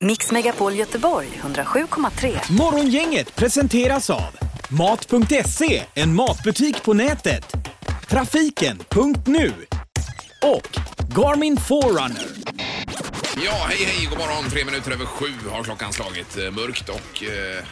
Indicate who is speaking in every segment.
Speaker 1: Mix Megapol Göteborg 107,3.
Speaker 2: Morgongänget presenteras av Mat.se, en matbutik på nätet. Trafiken.nu och Garmin Forerunner.
Speaker 3: Ja, hej hej, god morgon. Tre minuter över sju har klockan slagit. Eh, Mörkt och eh,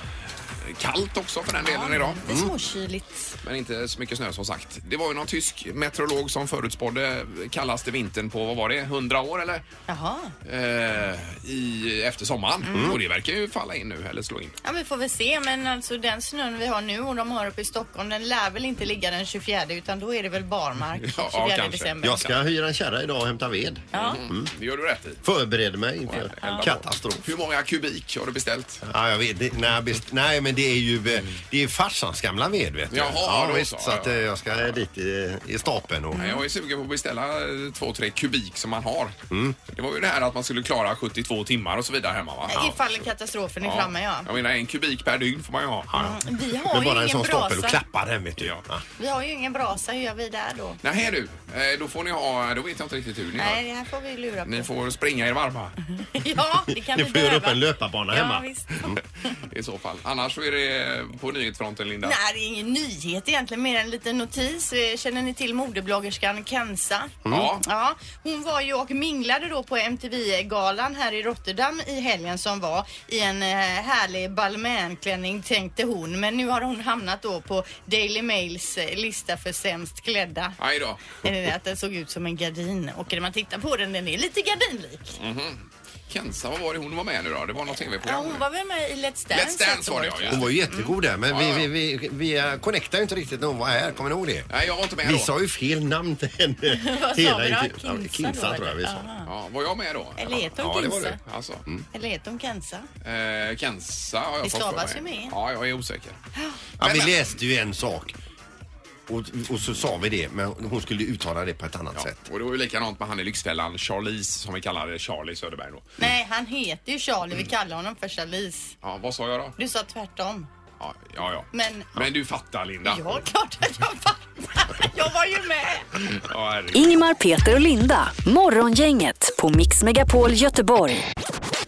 Speaker 3: kallt också för den delen idag. Mm.
Speaker 4: Lite småkyligt.
Speaker 3: Men inte så mycket snö som sagt. Det var ju någon tysk meteorolog som förutspådde eh, kallaste vintern på, vad var det, 100 år eller?
Speaker 4: Jaha.
Speaker 3: Eh, i, efter sommaren.
Speaker 4: Mm.
Speaker 3: Och det verkar ju falla in nu, eller slå in.
Speaker 4: Ja, vi får väl se, men alltså den snön vi har nu och de har uppe i Stockholm, den lär väl inte ligga den 24 utan då är det väl barmark
Speaker 3: Ja,
Speaker 4: 24
Speaker 3: kanske. Mm,
Speaker 4: december.
Speaker 5: Jag ska hyra en kärra idag och hämta ved.
Speaker 4: Ja.
Speaker 3: Det gör du rätt i.
Speaker 5: Förbereder mig inför katastrof.
Speaker 3: Hur många kubik har du beställt?
Speaker 5: Ja, jag vet, det, nej, best, nej, men det är ju eh, det är farsans gamla ved. Vet du.
Speaker 3: Jaha,
Speaker 5: ja,
Speaker 3: då
Speaker 5: visst,
Speaker 3: så,
Speaker 5: så att, eh, jag ska dit i, i stapeln. Och,
Speaker 3: Jag är sugen på att beställa eh, två, tre kubik som man har.
Speaker 5: Mm.
Speaker 3: Det var ju det här att man skulle klara 72 timmar och så vidare hemma va?
Speaker 4: Ifall katastrofen är
Speaker 3: Ja.
Speaker 4: framme, ja.
Speaker 3: Jag menar en kubik per dygn får man ju ha.
Speaker 4: Vi har
Speaker 5: men bara
Speaker 4: ju
Speaker 5: en
Speaker 4: ingen
Speaker 5: sån stapel och
Speaker 4: brasa.
Speaker 5: klappa den vet du. Ja.
Speaker 4: Vi har ju ingen brasa, hur gör vi där då?
Speaker 3: Nej du, eh, då får ni ha, då vet jag inte riktigt hur ni
Speaker 4: Nej,
Speaker 3: gör.
Speaker 4: det här får vi lura på.
Speaker 3: Ni får springa er varma
Speaker 4: Ja, det kan
Speaker 5: Ni
Speaker 4: vi
Speaker 5: får göra upp
Speaker 4: behöva.
Speaker 5: en löparbana
Speaker 4: ja,
Speaker 5: hemma.
Speaker 4: Visst.
Speaker 3: i så fall. Annars så är det eh, på nyhetsfronten Linda.
Speaker 4: Nej, det är ingen nyhet egentligen, mer en liten notis. Eh, Känner ni till modebloggerskan Kenza?
Speaker 3: Mm. Ja.
Speaker 4: Ja, hon var ju och minglade då på MTV-galan här i Rotterdam i helgen som var i en eh, härlig balmänklänning tänkte hon. Men nu har hon hamnat då på Daily Mails eh, lista för sämst klädda.
Speaker 3: Aj då.
Speaker 4: Eh, Att den såg ut som en gardin och när man tittar på den, den är lite gardinlik.
Speaker 3: Mhm. Kenza, vad var det hon var med nu då? Det var något
Speaker 4: Ja,
Speaker 3: tv-program.
Speaker 4: hon var väl med i Let's Dance? alltså?
Speaker 3: Let's Dance var det Mm. ja.
Speaker 5: Hon
Speaker 3: just.
Speaker 5: var ju jättegod där men
Speaker 3: Ja, ja.
Speaker 5: vi, vi, vi, vi eh, connectade ju inte riktigt när hon var här. Kommer ni ihåg det?
Speaker 3: Nej, jag var inte med
Speaker 5: Vi
Speaker 3: då.
Speaker 5: sa ju fel namn till henne.
Speaker 4: Vad sa vi då?
Speaker 5: intervjun. Ja,
Speaker 4: Kinsa
Speaker 5: Kinsa
Speaker 4: då,
Speaker 5: tror jag vi sa.
Speaker 4: eller?
Speaker 3: Ja, var jag med då?
Speaker 4: Eller heter hon
Speaker 3: Ja, det var
Speaker 4: Kinsa?
Speaker 3: du. Alltså.
Speaker 5: Mm.
Speaker 4: Eller heter hon Kenza?
Speaker 3: Eh, Kenza har jag
Speaker 4: Det
Speaker 3: fått för
Speaker 4: stavas
Speaker 3: mig.
Speaker 4: ju med.
Speaker 3: Ja, jag är osäker.
Speaker 5: Ja, vi
Speaker 3: Men-
Speaker 5: läste ju en sak och, och så sa vi det, men hon skulle uttala det på ett annat
Speaker 3: Ja.
Speaker 5: sätt.
Speaker 3: Och det var ju likadant med han i Lyxfällan, Charlize, som vi kallade Charlie Söderberg då.
Speaker 4: Nej, han heter ju Charlie. Vi kallar honom för Charlize.
Speaker 3: Ja, vad sa jag då?
Speaker 4: Du sa tvärtom.
Speaker 3: Ja, ja. ja.
Speaker 4: Men-
Speaker 3: Men du fattar Linda.
Speaker 4: Ja, klart att jag fattar. Jag var ju med.
Speaker 3: Ja, herregud.
Speaker 1: Ingemar, Peter och Linda. Morgongänget på Mix Megapol Göteborg.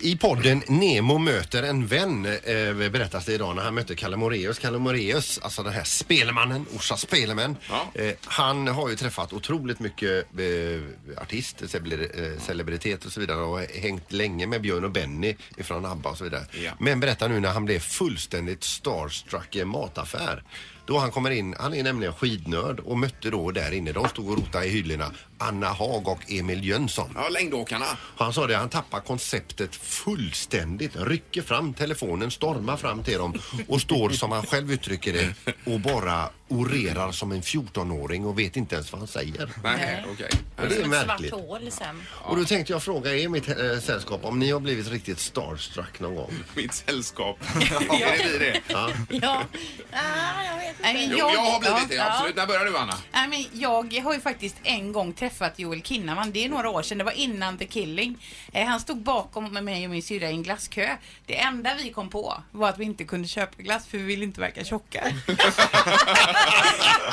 Speaker 5: I podden Nemo möter en vän eh, berättas det idag när han mötte Kalle Moreus. Kalle Moreus, alltså den här spelmannen, Orsa Spelman.
Speaker 3: Ja.
Speaker 5: Eh, han har ju träffat otroligt mycket eh, artister, cele- eh, celebriteter och så vidare och har hängt länge med Björn och Benny ifrån ABBA och så vidare.
Speaker 3: Ja.
Speaker 5: Men berätta nu när han blev fullständigt starstruck i en mataffär. Då han kommer in, han är nämligen skidnörd och mötte då där inne, de stod och rotade i hyllorna, Anna Hag och Emil Jönsson.
Speaker 3: ja längdåkarna.
Speaker 5: Han sa det, han tappar konceptet fullständigt. Rycker fram telefonen, stormar fram till dem och står som han själv uttrycker det och bara orerar som en 14-åring och vet inte ens vad han säger.
Speaker 3: Nej, okej.
Speaker 5: Och det är
Speaker 4: Alltså, Svart
Speaker 5: märkligt.
Speaker 4: hål liksom. sen.
Speaker 5: Och då tänkte jag fråga er mitt eh, sällskap om ni har blivit riktigt starstruck någon gång.
Speaker 3: Mitt sällskap. är det vi det?
Speaker 4: Ja. Ah, jag vet inte.
Speaker 6: Nej, men
Speaker 3: Jo,
Speaker 6: jag,
Speaker 3: jag har blivit det.
Speaker 6: Ja.
Speaker 3: Absolut. När börjar du Anna?
Speaker 6: Nej, men jag har ju faktiskt en gång träffat Joel Kinnaman. Det är några år sedan. Det var innan The Killing. Eh, han stod bakom med mig och min syrra i en glasskö. Det enda vi kom på var att vi inte kunde köpa glass för vi ville inte verka tjocka.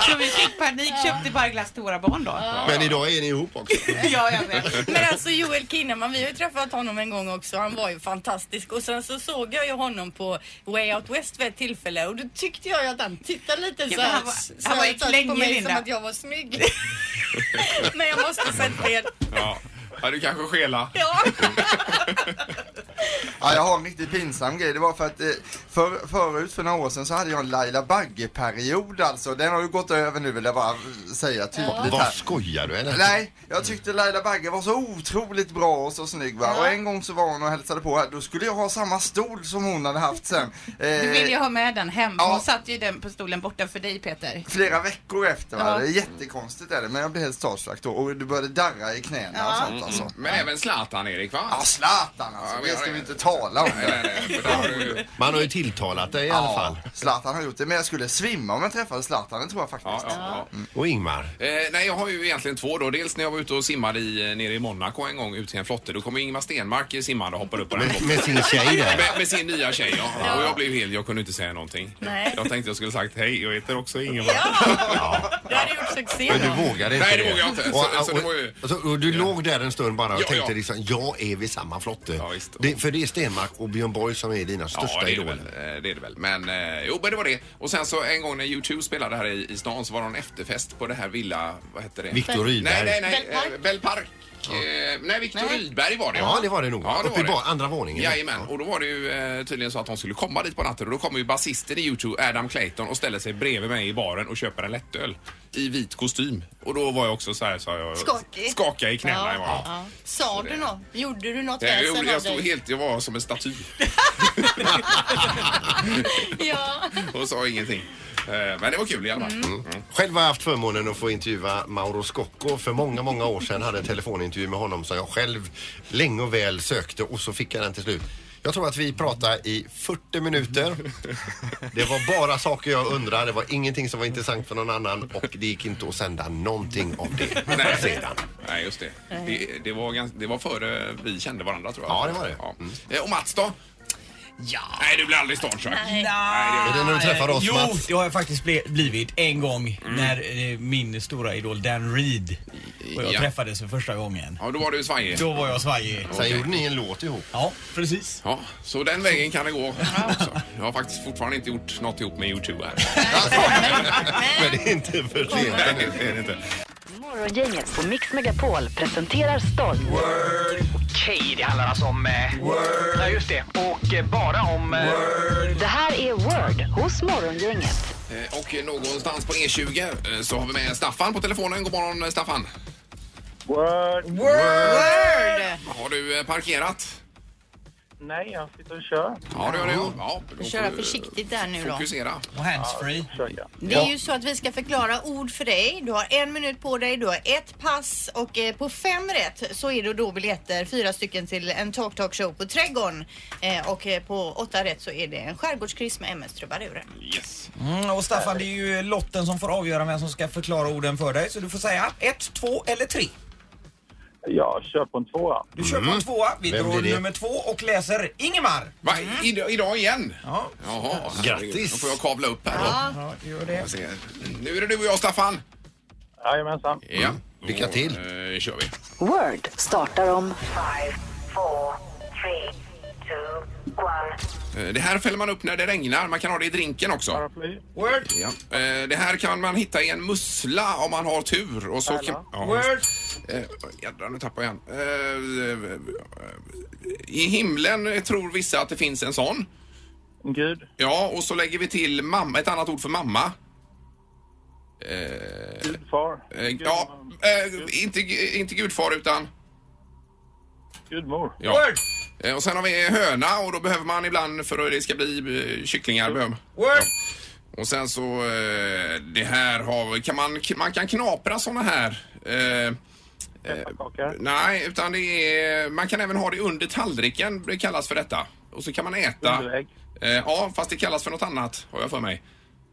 Speaker 6: Så vi fick panik, köpte bara glass till våra barn då.
Speaker 5: Men idag är ni ihop också.
Speaker 6: Ja, jag vet.
Speaker 4: Men alltså Joel Kinnaman, vi har ju träffat honom en gång också. Han var ju fantastisk. Och sen så såg jag ju honom på Way Out West vid ett tillfälle och då tyckte jag ju att han tittade lite så
Speaker 6: men
Speaker 4: här,
Speaker 6: han var-
Speaker 4: så
Speaker 6: han var
Speaker 4: här
Speaker 6: ju
Speaker 4: så här på
Speaker 6: klängig,
Speaker 4: mig som
Speaker 6: Linda.
Speaker 4: att jag var snygg. men jag måste ha sett fel.
Speaker 3: Ja. ja, du kanske skela.
Speaker 4: Ja.
Speaker 7: Ja, jag har en riktigt pinsam grej. Det var för att eh, för, förut, för några år sedan, så hade jag en Laila Bagge-period alltså. Den har ju gått över nu vill jag bara säga
Speaker 6: alltså-
Speaker 7: tydligt
Speaker 5: Vad
Speaker 7: här.
Speaker 5: skojar du eller?
Speaker 7: Nej, jag tyckte Laila Bagge var så otroligt bra och så snygg va. Och en gång så var hon och hälsade på här. Då skulle jag ha samma stol som hon hade haft sen. Eh,
Speaker 6: Du ville ju ha med den hem.
Speaker 7: Ja.
Speaker 6: Hon satt ju den på stolen borta för dig Peter.
Speaker 7: Eh, Flera veckor efter va.
Speaker 6: Ja.
Speaker 7: Det är jättekonstigt är det. Men jag blev helt starstruck då. Och det började darra i knäna och sånt
Speaker 6: Mm,
Speaker 7: alltså.
Speaker 3: Mm, Men även Zlatan, Erik, va?
Speaker 7: Ja, Zlatan alltså.
Speaker 3: Ja, men
Speaker 7: det
Speaker 3: jag
Speaker 7: ska
Speaker 3: är-
Speaker 7: vi inte tala om.
Speaker 3: Nej, nej, nej. För där har du-
Speaker 5: Man har ju tilltalat dig i alla fall.
Speaker 7: Zlatan har gjort det, men jag skulle svimma om jag träffade Zlatan, det tror jag faktiskt. Mm.
Speaker 3: Ja, ja, ja.
Speaker 5: Och Ingmar,
Speaker 3: Eh, nej, jag har ju egentligen två då. Dels när jag var ute och simmade i, eh, nere i Monaco en gång ut till en flotte. Då kom ju Ingemar Stenmark simmande och hoppade upp på den
Speaker 5: med,
Speaker 3: båten.
Speaker 5: med sin tjej där.
Speaker 3: Med, med sin nya tjej, ja. Och jag blev hel, jag kunde inte säga någonting.
Speaker 4: Nej.
Speaker 3: Jag tänkte jag skulle sagt hej, jag heter också Ingemar.
Speaker 4: Du hade gjort succé
Speaker 5: Men du
Speaker 4: då.
Speaker 5: vågade inte
Speaker 3: Nej, det vågade jag inte. Så-
Speaker 5: Och,
Speaker 3: så
Speaker 5: och,
Speaker 3: det var ju-
Speaker 5: alltså, och du låg där en stund bara och
Speaker 3: Ja,
Speaker 5: tänkte
Speaker 3: ja.
Speaker 5: liksom, jag är vid samma flotte.
Speaker 3: Ja, visst.
Speaker 5: det, för det är Stenmark och Björn Borg som är dina största
Speaker 3: ja, det är det, väl,
Speaker 5: idoler.
Speaker 3: Eh, det är det väl. Men eh, jo, men det var det. Och sen så en gång när U2 spelade här i, i stan så var det en efterfest på det här Villa... Vad hette det?
Speaker 5: Viktor
Speaker 3: Nej,
Speaker 5: Rydberg.
Speaker 3: nej, nej.
Speaker 4: Bellpark.
Speaker 3: eh, Bellpark. Eh, nej, Viktor
Speaker 4: Nej.
Speaker 3: Rydberg var det.
Speaker 5: Ja, det var det nog. Uppe i ba- andra våningen.
Speaker 3: Jajamän, och då var det ju eh, tydligen så att de skulle komma dit på natten och då kommer ju basisten i YouTube, Adam Clayton, och ställer sig bredvid mig i baren och köper en lättöl i vit kostym. Och då var jag också så här, så jag
Speaker 4: Skakig.
Speaker 3: skakade i knäna. i
Speaker 4: Ja,
Speaker 3: morgon.
Speaker 4: ja. Sa du något? Gjorde du något
Speaker 3: Jag,
Speaker 4: väsen
Speaker 3: jag,
Speaker 4: av
Speaker 3: jag stod
Speaker 4: dig?
Speaker 3: helt, jag var som en staty
Speaker 4: Ja.
Speaker 3: och sa ingenting. Eh, Men det var kul i alla fall.
Speaker 5: Mm.
Speaker 3: Mm.
Speaker 5: Själv har jag haft förmånen att få intervjua Mauro Scocco. För många, många år sedan hade jag en telefonintervju med honom som jag själv länge och väl sökte och så fick jag den till slut. Jag tror att vi pratade i 40 minuter. Det var bara saker jag undrade. Det var ingenting som var intressant för någon annan och det gick inte att sända någonting av det
Speaker 3: Nej.
Speaker 5: sedan.
Speaker 3: Nej, just det. Det, det, var ganska, det var före vi kände varandra tror jag.
Speaker 5: Ja, det var det. Mm.
Speaker 3: Eh, Och Mats då? Ja. Nej, du blir aldrig starstruck. Nej. det
Speaker 5: Är
Speaker 3: gör
Speaker 5: det när du träffar oss
Speaker 8: Jo,
Speaker 5: Mats?
Speaker 8: det har jag faktiskt ble- blivit en gång när eh, min stora idol Dan Reed och jag
Speaker 3: Ja.
Speaker 8: träffades för första gången.
Speaker 3: Ja, då var du svajig.
Speaker 8: Då var jag svajig.
Speaker 5: Sen gjorde ni en låt ihop.
Speaker 8: Ja, precis.
Speaker 3: Ja, så den vägen kan det gå också. Jag har faktiskt fortfarande inte gjort något ihop med YouTube här.
Speaker 5: Men det är inte för sent.
Speaker 3: Nej, det är det inte.
Speaker 1: Morgongänget på Mix Megapol presenterar stolt
Speaker 9: Okej, det handlar alltså om... Eh, ja, just det. Och eh, bara om... Eh,
Speaker 1: Det här är Word hos Morgongänget.
Speaker 3: Eh, Och någonstans på E20 eh, så har vi med Staffan på telefonen. God morgon eh, Staffan.
Speaker 4: Word!
Speaker 3: Har du eh, parkerat?
Speaker 10: Nej, jag sitter och kör.
Speaker 3: Ja, det har du. Ja, då får
Speaker 4: Köra
Speaker 3: du
Speaker 4: försiktigt där nu då.
Speaker 3: Fokusera.
Speaker 8: Och handsfree.
Speaker 10: Försöker.
Speaker 4: Det är ju så att vi ska förklara ord för dig. Du har en minut på dig, du har ett pass och eh, på fem rätt så är det då biljetter, fyra stycken till en Talk Talk Show på Trädgården. Eh, och eh, på åtta rätt så är det en skärgårdskryss med MS Trubaduren.
Speaker 3: Yes.
Speaker 8: Mm, och Staffan, det är ju lotten som får avgöra vem som ska förklara orden för dig. Så du får säga ett, två eller tre.
Speaker 10: Jag kör på en tvåa.
Speaker 8: Du kör
Speaker 3: Mm.
Speaker 8: på en tvåa. Vi
Speaker 5: Vem
Speaker 8: drar
Speaker 5: blir det?
Speaker 8: nummer två och läser Ingemar.
Speaker 3: Va, id- idag igen?
Speaker 8: Ja.
Speaker 3: Jaha,
Speaker 5: Grattis.
Speaker 3: herregud. Då får jag kavla upp här då.
Speaker 8: Ja, gör det.
Speaker 3: Se. Nu är det du och jag Staffan.
Speaker 10: Jajamensan.
Speaker 3: Ja.
Speaker 5: Lycka till.
Speaker 3: Då eh, kör vi.
Speaker 1: Word startar om
Speaker 3: Eh, Det här fäller man upp när det regnar. Man kan ha det i drinken också.
Speaker 10: Paraply.
Speaker 8: Word.
Speaker 3: Ja. Eh, Det här kan man hitta i en mussla om man har tur. Och så kan, ja,
Speaker 8: Word.
Speaker 3: Eh, Jädrar, nu tappade jag en. Eh, eh, eh, I himlen tror vissa att det finns en sån.
Speaker 10: Gud.
Speaker 3: Ja, och så lägger vi till mamma, ett annat ord för mamma.
Speaker 10: Gudfar.
Speaker 3: Eh, Ja, eh, inte, inte gudfar utan...
Speaker 10: Gudmor.
Speaker 3: Ja.
Speaker 8: Word.
Speaker 3: Eh, Och sen har vi höna och då behöver man ibland för att det ska bli eh, kycklingar. behöver-
Speaker 8: Word.
Speaker 3: Och sen så eh, det här har kan man, man kan knapra såna här. Eh,
Speaker 10: Pepparkakor.
Speaker 3: nej, utan det är, man kan även ha det under tallriken, det kallas för detta. Och så kan man äta.
Speaker 10: Underägg.
Speaker 3: Eh, ja, fast det kallas för något annat har jag för mig.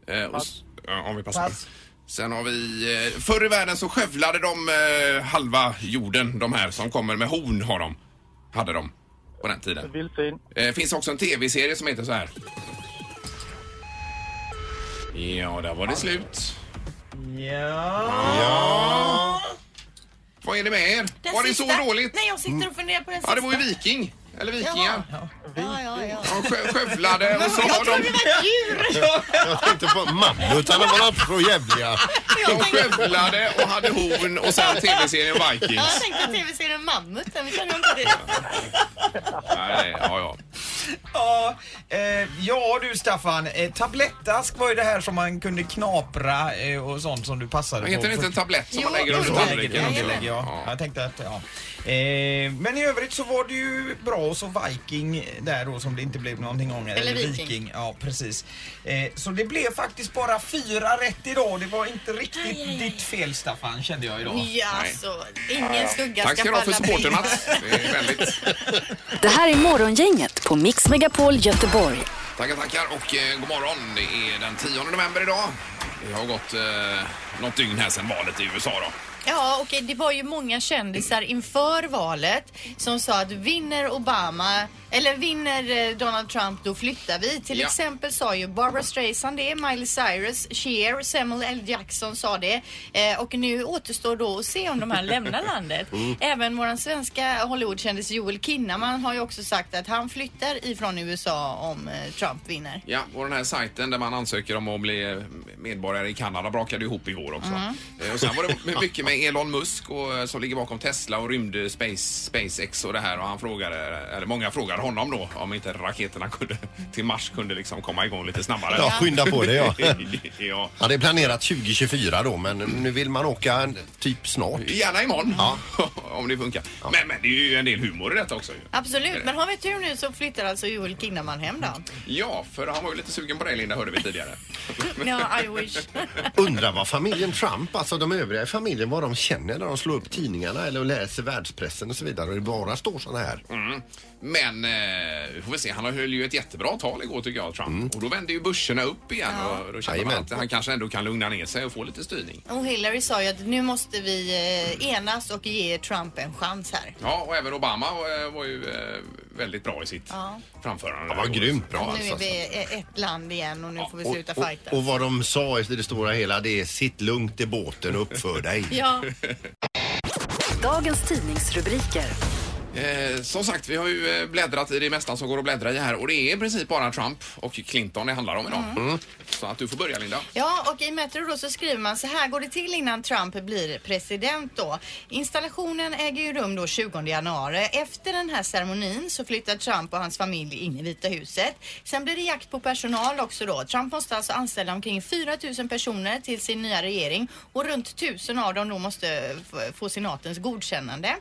Speaker 3: Eh, och, s- ja, om vi passar.
Speaker 8: Pass.
Speaker 3: Sen har vi, eh, förr i världen så skövlade de eh, halva jorden, de här som kommer med horn har de. Hade de på den tiden.
Speaker 10: Vildsvin.
Speaker 3: Eh, finns också en tv-serie som heter så här. Ja, där var det slut.
Speaker 8: Ja.
Speaker 3: Vad är det med er?
Speaker 4: Den
Speaker 3: var det
Speaker 4: sista-
Speaker 3: så dåligt? Mm.
Speaker 4: Nej, jag sitter och funderar på den
Speaker 3: Ja,
Speaker 4: sista.
Speaker 3: det var ju viking. Eller vikingar.
Speaker 4: Ja, ja, ja.
Speaker 3: De skö- skövlade och så har de...
Speaker 5: Jag tänkte på mammutarna var så jävliga.
Speaker 3: De skövlade och hade horn och sen tv-serien Vikings.
Speaker 4: Jag tänkte att tv-serien Mammuten, vi känner inte det.
Speaker 3: Nej, ja, ja.
Speaker 8: Ja, eh, ja du Staffan, eh, tablettask var ju det här som man kunde knapra eh, och sånt som du passade
Speaker 3: Men
Speaker 8: på.
Speaker 3: Heter det inte en tablett som man
Speaker 4: Jo,
Speaker 3: lägger under
Speaker 4: jo,
Speaker 8: Underlägg,
Speaker 3: tallriken?
Speaker 4: Jajamän.
Speaker 8: underlägg, ja.
Speaker 3: Ja.
Speaker 8: Jag tänkte att, ja. Eh, men i övrigt så var det ju bra och så Viking där då som det inte blev någonting om.
Speaker 4: Eller Viking.
Speaker 8: Ja, precis. Eh, så det blev faktiskt bara fyra rätt idag. Det var inte riktigt ditt fel Staffan kände jag idag.
Speaker 4: Ja, så ingen skugga
Speaker 3: Tack ska du ha för
Speaker 4: falla på
Speaker 3: supporten
Speaker 4: er.
Speaker 3: Mats. Det är väldigt...
Speaker 1: Det här är Morgongänget på Mix Megapol Göteborg.
Speaker 3: Tackar, tackar och eh, god morgon. Det är den 10 november idag. Det har gått eh, något dygn här sedan valet i USA då.
Speaker 4: Ja, och det var ju många kändisar inför valet som sa att vinner Obama, eller vinner eh, Donald Trump, då flyttar vi. Till
Speaker 3: Ja.
Speaker 4: exempel sa ju Barbara Streisand det, Miley Cyrus, Cher, Samuel L. Jackson sa det. Eh, och nu återstår då att se om de här lämnar landet.
Speaker 3: Mm.
Speaker 4: Även våran svenska Hollywoodkändis Joel Kinnaman har ju också sagt att han flyttar ifrån USA om eh, Trump vinner.
Speaker 3: Ja, och den här sajten där man ansöker om att bli medborgare i Kanada brakade ihop igår också.
Speaker 4: Mm.
Speaker 3: Eh, Och sen var det mycket med Elon Musk och, eh, som ligger bakom Tesla och rymd Space, SpaceX och det här och han frågade, eller många frågade honom då om inte raketerna kunde, till Mars kunde liksom komma igång lite snabbare.
Speaker 5: Ja, skynda på det ja.
Speaker 3: ja.
Speaker 5: Ja, det är planerat 2024 då, men nu vill man åka en- typ snart.
Speaker 3: Gärna imorgon, om det funkar. Men, men det är ju en del humor i detta också. ju.
Speaker 4: Absolut, men har vi tur nu så flyttar alltså Joel Kinnaman hem då.
Speaker 3: Ja, för han var ju lite sugen på dig Linda, hörde vi tidigare.
Speaker 4: Ja, I wish.
Speaker 5: Undrar vad familjen Trump, alltså de övriga i familjen, vad de känner när de slår upp tidningarna eller läser världspressen och så vidare och det bara står sådana här.
Speaker 3: Mm. Men eh, vi får vi se, han höll ju ett jättebra tal igår tycker jag, Trump. Och då vände ju börserna upp igen och då kände man
Speaker 5: Mm. Jajamän.
Speaker 3: att han kanske ändå kan lugna ner sig och få lite styrning.
Speaker 4: Och Hillary sa ju att nu måste vi eh, enas och ge Trump en chans här.
Speaker 3: Ja, och även Obama eh, var ju eh, väldigt bra i sitt
Speaker 4: Ja.
Speaker 3: framförande.
Speaker 5: Ja, vad grymt bra
Speaker 4: nu
Speaker 5: alltså.
Speaker 4: är vi eh, ett land igen och nu får vi
Speaker 5: Och,
Speaker 4: sluta
Speaker 5: och,
Speaker 4: fighta.
Speaker 5: och vad de sa i det stora hela, det är sitt lugnt i båten och uppför dig.
Speaker 4: Ja,
Speaker 1: Dagens tidningsrubriker.
Speaker 3: Eh, som sagt, vi har ju eh, bläddrat i det mesta som går att bläddra i här och det är i princip bara Trump och Clinton det handlar om idag.
Speaker 4: Mm.
Speaker 5: Mm.
Speaker 3: Så att du får börja Linda.
Speaker 4: ja, och i Metro då så skriver man så här går det till innan Trump blir president då. Installationen äger ju rum då 20 januari. Efter den här ceremonin så flyttar Trump och hans familj in i Vita huset. Sen blir det jakt på personal också då. Trump måste alltså anställa omkring 4 000 personer till sin nya regering och runt 1000 av dem då måste eh, f- få senatens godkännande.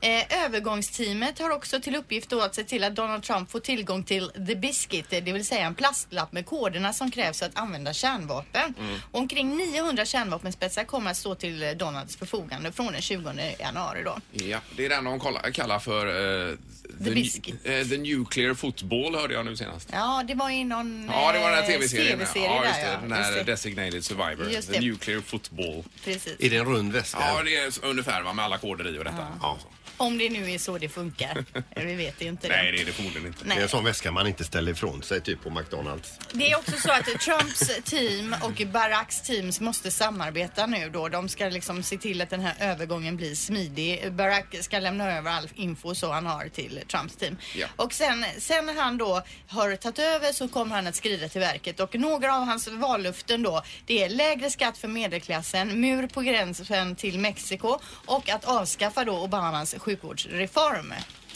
Speaker 4: Eh, övergångsteamet har också till uppgift då att se till att Donald Trump får tillgång till the biscuit, eh, det vill säga en plastlapp med koderna som krävs för att använda kärnvapen.
Speaker 3: Mm.
Speaker 4: Omkring 900 kärnvapenspetsar kommer att stå till eh, Donalds förfogande från den 20 januari då.
Speaker 3: Ja, det är den de kolla- kallar för eh,
Speaker 4: The
Speaker 3: nu-
Speaker 4: Biscuit.
Speaker 3: eh, the Nuclear Football hörde jag nu senast.
Speaker 4: Ja, det var ju någon
Speaker 3: Ja, det var den här
Speaker 4: eh,
Speaker 3: tv-serien.
Speaker 4: TV-serie
Speaker 3: ja, just
Speaker 4: där
Speaker 3: det.
Speaker 4: ja.
Speaker 3: Den här
Speaker 4: Just det.
Speaker 3: Designated Survivor.
Speaker 4: Just
Speaker 3: The
Speaker 4: det.
Speaker 3: Nuclear Football.
Speaker 4: Precis.
Speaker 5: Är det en rund väska?
Speaker 3: Ja, det är s- ungefär va, med alla koder i och detta.
Speaker 5: Ja.
Speaker 4: Om det nu är så det funkar. Eh, Vi vet ju inte det.
Speaker 3: Nej, det är det förmodligen inte.
Speaker 5: Det är
Speaker 4: Nej.
Speaker 5: en sån väska man inte ställer ifrån sig, typ på McDonalds.
Speaker 4: Det är också så att Trumps team och Baracks teams måste samarbeta nu då. De ska liksom se till att den här övergången blir smidig. Barack ska lämna över all info så han har till Trumps team.
Speaker 3: Ja.
Speaker 4: Och sen, sen när han då har tagit över så kommer han att skrida till verket och några av hans vallöften då det är lägre skatt för medelklassen, mur på gränsen till Mexiko och att avskaffa då Obamas sjukvårdsreform.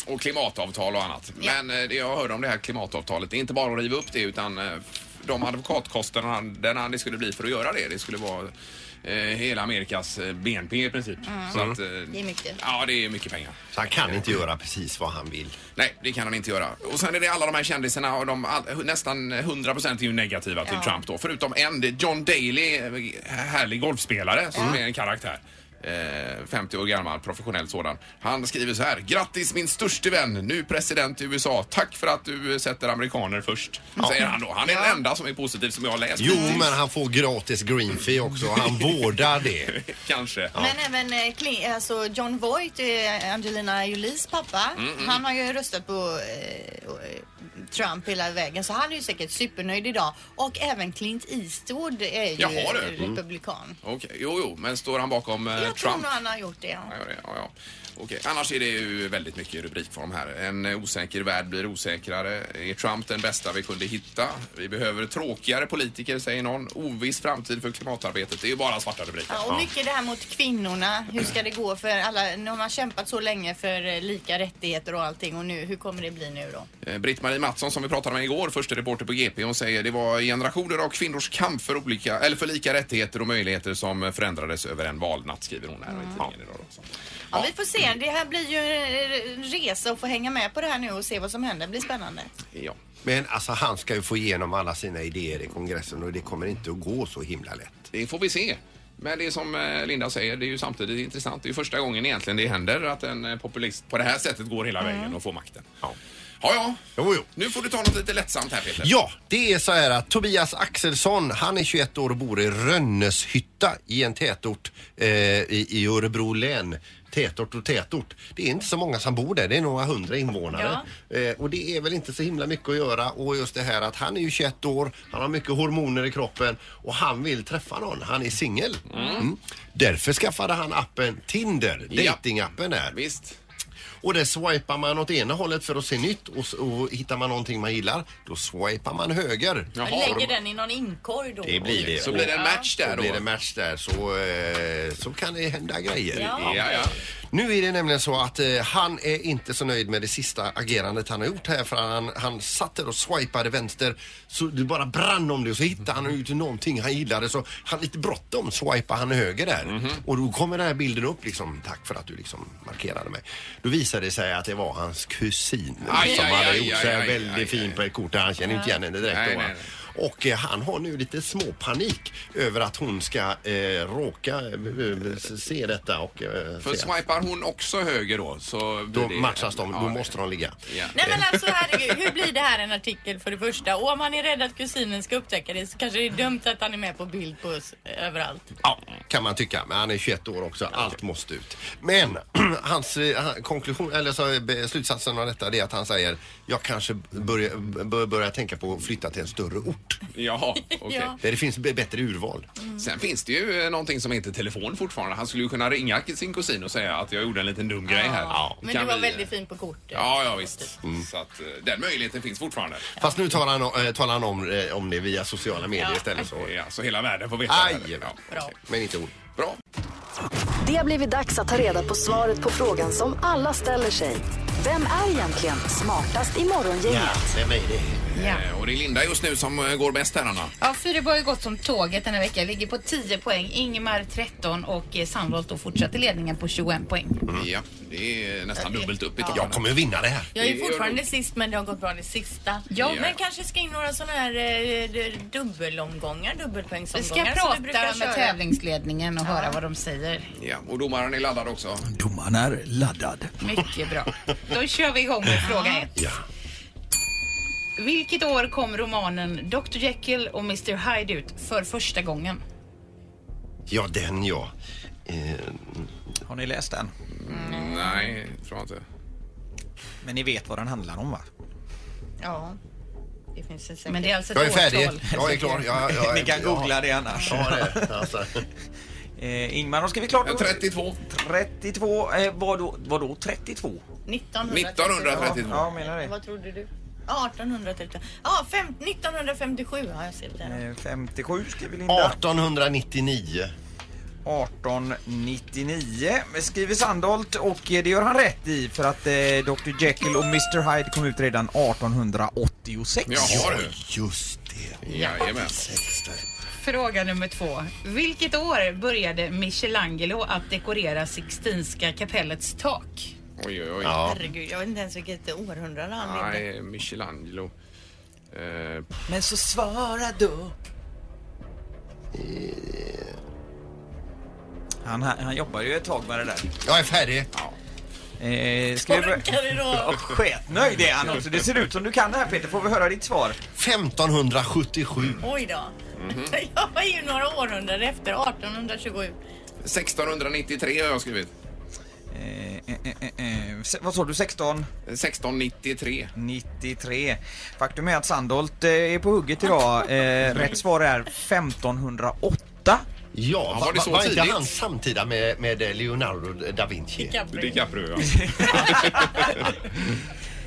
Speaker 3: Och klimatavtal och annat.
Speaker 4: Ja.
Speaker 3: Men eh, det jag hörde om det här klimatavtalet, det är inte bara att riva upp det utan eh, de advokatkostnaderna det skulle bli för att göra det, det skulle vara eh, hela Amerikas eh, BNP i princip.
Speaker 4: Mm.
Speaker 3: Så att, eh,
Speaker 4: Det är mycket.
Speaker 3: Ja, det är mycket pengar.
Speaker 5: Så han kan inte göra precis vad han vill.
Speaker 3: Nej, det kan han inte göra. Och sen är det alla de här kändisarna och de all, nästan 100 procent är ju negativa till
Speaker 4: Ja.
Speaker 3: Trump då. Förutom en, det är John Daly, eh, härlig golfspelare som är en karaktär. Eh, 50 år gammal, professionell sådan. Han skriver så här. Grattis min störste vän, nu president i USA. Tack för att du eh, sätter amerikaner först. Säger han då. Han är den enda som är positiv som jag har läst.
Speaker 5: Jo,
Speaker 3: hittills.
Speaker 5: men han får gratis green fee också. Han vårdar det.
Speaker 3: Kanske.
Speaker 4: Men även eh, Cli- alltså John Voight, eh, Angelina Jolies pappa, han har ju röstat på eh, och, eh, Trump hela vägen så han är ju säkert supernöjd idag. Och även Clint Eastwood är ju
Speaker 3: Jaha, du.
Speaker 4: eh, republikan.
Speaker 3: Okej, jo, jo, men står han bakom eh,
Speaker 4: Jag tror
Speaker 3: Trump?
Speaker 4: nog han har gjort det. Ja.
Speaker 3: Ja, det- ja, ja. Okej. Annars är det ju väldigt mycket rubrikform här. En eh, osäker värld blir osäkrare. Är Trump den bästa vi kunde hitta? Vi behöver tråkigare politiker, säger någon. Oviss framtid för klimatarbetet. Det är ju bara svarta rubriker.
Speaker 4: Ja, och mycket det här mot kvinnorna. Hur ska det gå för alla? Nu har man kämpat så länge för eh, lika rättigheter och allting och nu, hur kommer det bli nu då?
Speaker 3: Eh, Britt-Marie Mattsson som vi pratade med igår, första reporter på GP, hon säger det var generationer av kvinnors kamp för, olika, eller för lika rättigheter och möjligheter som förändrades över en valnatt, skriver hon här. i tidningen idag också.
Speaker 4: Ja, vi får se. Det här blir ju en eh, resa att få hänga med på det här nu och se vad som händer. Det blir spännande.
Speaker 3: Ja.
Speaker 5: Men alltså, han ska ju få igenom alla sina idéer i kongressen och det kommer inte att gå så himla lätt.
Speaker 3: Det får vi se. Men det är som eh, Linda säger, det är ju samtidigt intressant. Det är ju första gången egentligen det händer att en eh, populist på det här sättet går hela vägen och får makten.
Speaker 5: Mm. Ja.
Speaker 3: Ja, ja.
Speaker 5: Jo, jo.
Speaker 3: Nu får du ta något lite lättsamt här Peter.
Speaker 5: Ja, det är så här att Tobias Axelsson, han är 21 år och bor i Rönneshytta i en tätort eh, i, i Örebro län. Tätort och tätort. Det är inte så många som bor där, det är några hundra invånare. Eh, och det är väl inte så himla mycket att göra och just det här att han är ju 21 år, han har mycket hormoner i kroppen och han vill träffa någon, han är singel. Mm. Därför skaffade han appen Tinder,
Speaker 3: Ja.
Speaker 5: datingappen där.
Speaker 3: Visst.
Speaker 5: Och det swipar man åt ena hållet för att se nytt och, s- och hittar man någonting man gillar, då swipar man höger.
Speaker 3: Jaha.
Speaker 11: Lägger den i någon inkorg då?
Speaker 5: Det blir det.
Speaker 3: Så blir det en match där
Speaker 5: Då
Speaker 3: då.
Speaker 5: blir det match där så, eh, så kan det hända grejer.
Speaker 11: Ja.
Speaker 3: Ja, ja.
Speaker 5: Nu är det nämligen så att eh, han är inte så nöjd med det sista agerandet han har gjort här för han, han satt där och swipade vänster så det bara brann om det och så hittade han ut någonting han gillade så han lite bråttom swipade han höger där
Speaker 3: Mhm.
Speaker 5: och då kommer den här bilden upp liksom tack för att du liksom markerade mig. Då visade det sig att det var hans kusin
Speaker 3: Aj,
Speaker 5: som
Speaker 3: aj,
Speaker 5: hade
Speaker 3: aj,
Speaker 5: gjort
Speaker 3: aj,
Speaker 5: sig
Speaker 3: aj,
Speaker 5: väldigt
Speaker 3: aj,
Speaker 5: fin på ett kort han känner inte igen henne direkt.
Speaker 3: Nej,
Speaker 5: då, va?
Speaker 3: nej, nej.
Speaker 5: Och eh, han har nu lite småpanik över att hon ska eh, råka eh, s- se detta och eh,
Speaker 3: För
Speaker 5: se att-
Speaker 3: swipar hon också höger då så blir
Speaker 5: då
Speaker 3: det-
Speaker 5: matchas de, då
Speaker 3: Ja,
Speaker 5: måste de ligga.
Speaker 3: Ja.
Speaker 11: Nej men alltså herregud, hur blir det här en artikel för det första? Och om man är rädd att kusinen ska upptäcka det så kanske det är dumt att han är med på bild på oss överallt.
Speaker 5: Ja, kan man tycka. Men han är 21 år också. Allt måste ut. Men hans eh, han- konklusion, eller så, eh, be- slutsatsen av detta det är att han säger jag kanske börjar bör, börja tänka på att flytta till en större ort
Speaker 3: Jaha, okej.
Speaker 11: Ja.
Speaker 5: där det finns b- bättre urval.
Speaker 3: Sen finns det ju eh, någonting som heter telefon fortfarande. Han skulle ju kunna ringa sin kusin och säga att jag gjorde en liten dum grej här.
Speaker 11: Men
Speaker 3: Kan
Speaker 11: du var
Speaker 3: vi-
Speaker 11: väldigt fin på kortet.
Speaker 3: Ja, ja visst.
Speaker 5: Mm.
Speaker 3: Så att eh, den möjligheten finns fortfarande.
Speaker 5: Fast nu talar han, o- eh, talar han om, eh, om det via sociala medier istället. Så.
Speaker 3: Ja, så hela världen får veta det
Speaker 5: Aj!
Speaker 3: här. Ja.
Speaker 11: Bra.
Speaker 5: Men inte ord.
Speaker 3: Bra.
Speaker 1: Det har blivit dags att ta reda på svaret på frågan som alla ställer sig. Vem är egentligen smartast i Morgongänget?
Speaker 5: vem är det?
Speaker 11: Ja.
Speaker 3: Eh, Och det är Linda just nu som eh, går bäst här, Anna.
Speaker 6: Ja, Fyrebo har ju gått som tåget den här veckan. Ligger på 10 poäng. Ingemar 13 och eh, Sandholt då fortsätter ledningen på 21 poäng.
Speaker 3: Ja, det är nästan dubbelt upp i toppen.
Speaker 5: Mm. Jag kommer vinna det här.
Speaker 11: Jag är
Speaker 3: Det
Speaker 11: ju
Speaker 3: gör
Speaker 11: fortfarande sist men det har gått bra det sista.
Speaker 6: Ja.
Speaker 11: Men kanske ska in några sådana här eh, d- dubbelomgångar, dubbelpoängsomgångar.
Speaker 6: Vi ska
Speaker 11: som vi
Speaker 6: prata
Speaker 11: brukar
Speaker 6: med
Speaker 11: köra.
Speaker 6: tävlingsledningen och höra vad de säger.
Speaker 3: Ja, och domaren är laddad också.
Speaker 2: Domaren är laddad.
Speaker 6: Mycket bra. Då kör vi igång med fråga ett.
Speaker 5: Ja.
Speaker 6: Vilket år kom romanen Dr Jekyll och Mr Hyde ut för första gången?
Speaker 5: ja, den ja. Eh,
Speaker 2: Har ni läst den?
Speaker 3: Nej, tror jag inte.
Speaker 2: Men ni vet vad den handlar om va?
Speaker 11: Ja. Det finns en säkert.
Speaker 6: Men det är alltså ett
Speaker 5: jag är färdig.
Speaker 6: årtal.
Speaker 5: Jag är klar. Jag, jag,
Speaker 2: Ni kan googla det annars.
Speaker 5: Ja, det. Alltså.
Speaker 2: Eh, Ingmar har skrivit klart.
Speaker 3: Eh, 32.
Speaker 2: 32. Eh, vadå, vadå 32?
Speaker 11: 1932.
Speaker 3: 1932.
Speaker 2: Ja, menar det.
Speaker 11: Vad trodde du? 1832. Ja, fem, 1957 har jag sett det.
Speaker 2: Eh, 57 skriver Linda.
Speaker 5: 1899.
Speaker 2: 1899 skriver Sandholt och eh, det gör han rätt i för att eh, Dr Jekyll och Mr Hyde kom ut redan 1886.
Speaker 3: Jaha du.
Speaker 5: Just det.
Speaker 3: Jajamän.
Speaker 6: Fråga nummer två. Vilket år började Michelangelo att dekorera Sixtinska kapellets tak?
Speaker 3: Oj, oj, oj.
Speaker 5: Ja.
Speaker 11: Herregud, jag vet inte ens vilket århundrade han levde.
Speaker 3: Nej, Michelangelo. Eh,
Speaker 2: Men så svara då. Han, han jobbar ju ett tag med det där.
Speaker 5: Jag är färdig.
Speaker 2: Eh, ska vi börja-
Speaker 11: Orkar du då?
Speaker 2: Och sketnöjd är han också. Det ser ut som du kan det här Peter. Får vi höra ditt svar?
Speaker 5: 1577.
Speaker 11: Oj då.
Speaker 3: Mhm. Mm.
Speaker 11: Jag var ju några århundraden efter, 1827.
Speaker 3: 1693 har jag skrivit.
Speaker 2: Eh, eh, eh, eh, se- vad sa du? 1693?
Speaker 3: 1693.
Speaker 2: Faktum är att Sandholt eh, är på hugget idag. Eh, rätt svar är 1508.
Speaker 5: Ja,
Speaker 3: var
Speaker 5: var,
Speaker 3: det så
Speaker 5: var, inte
Speaker 3: tidigt?
Speaker 5: han samtida med, med Leonardo da Vinci?
Speaker 11: Capri.
Speaker 3: DiCaprio, ja.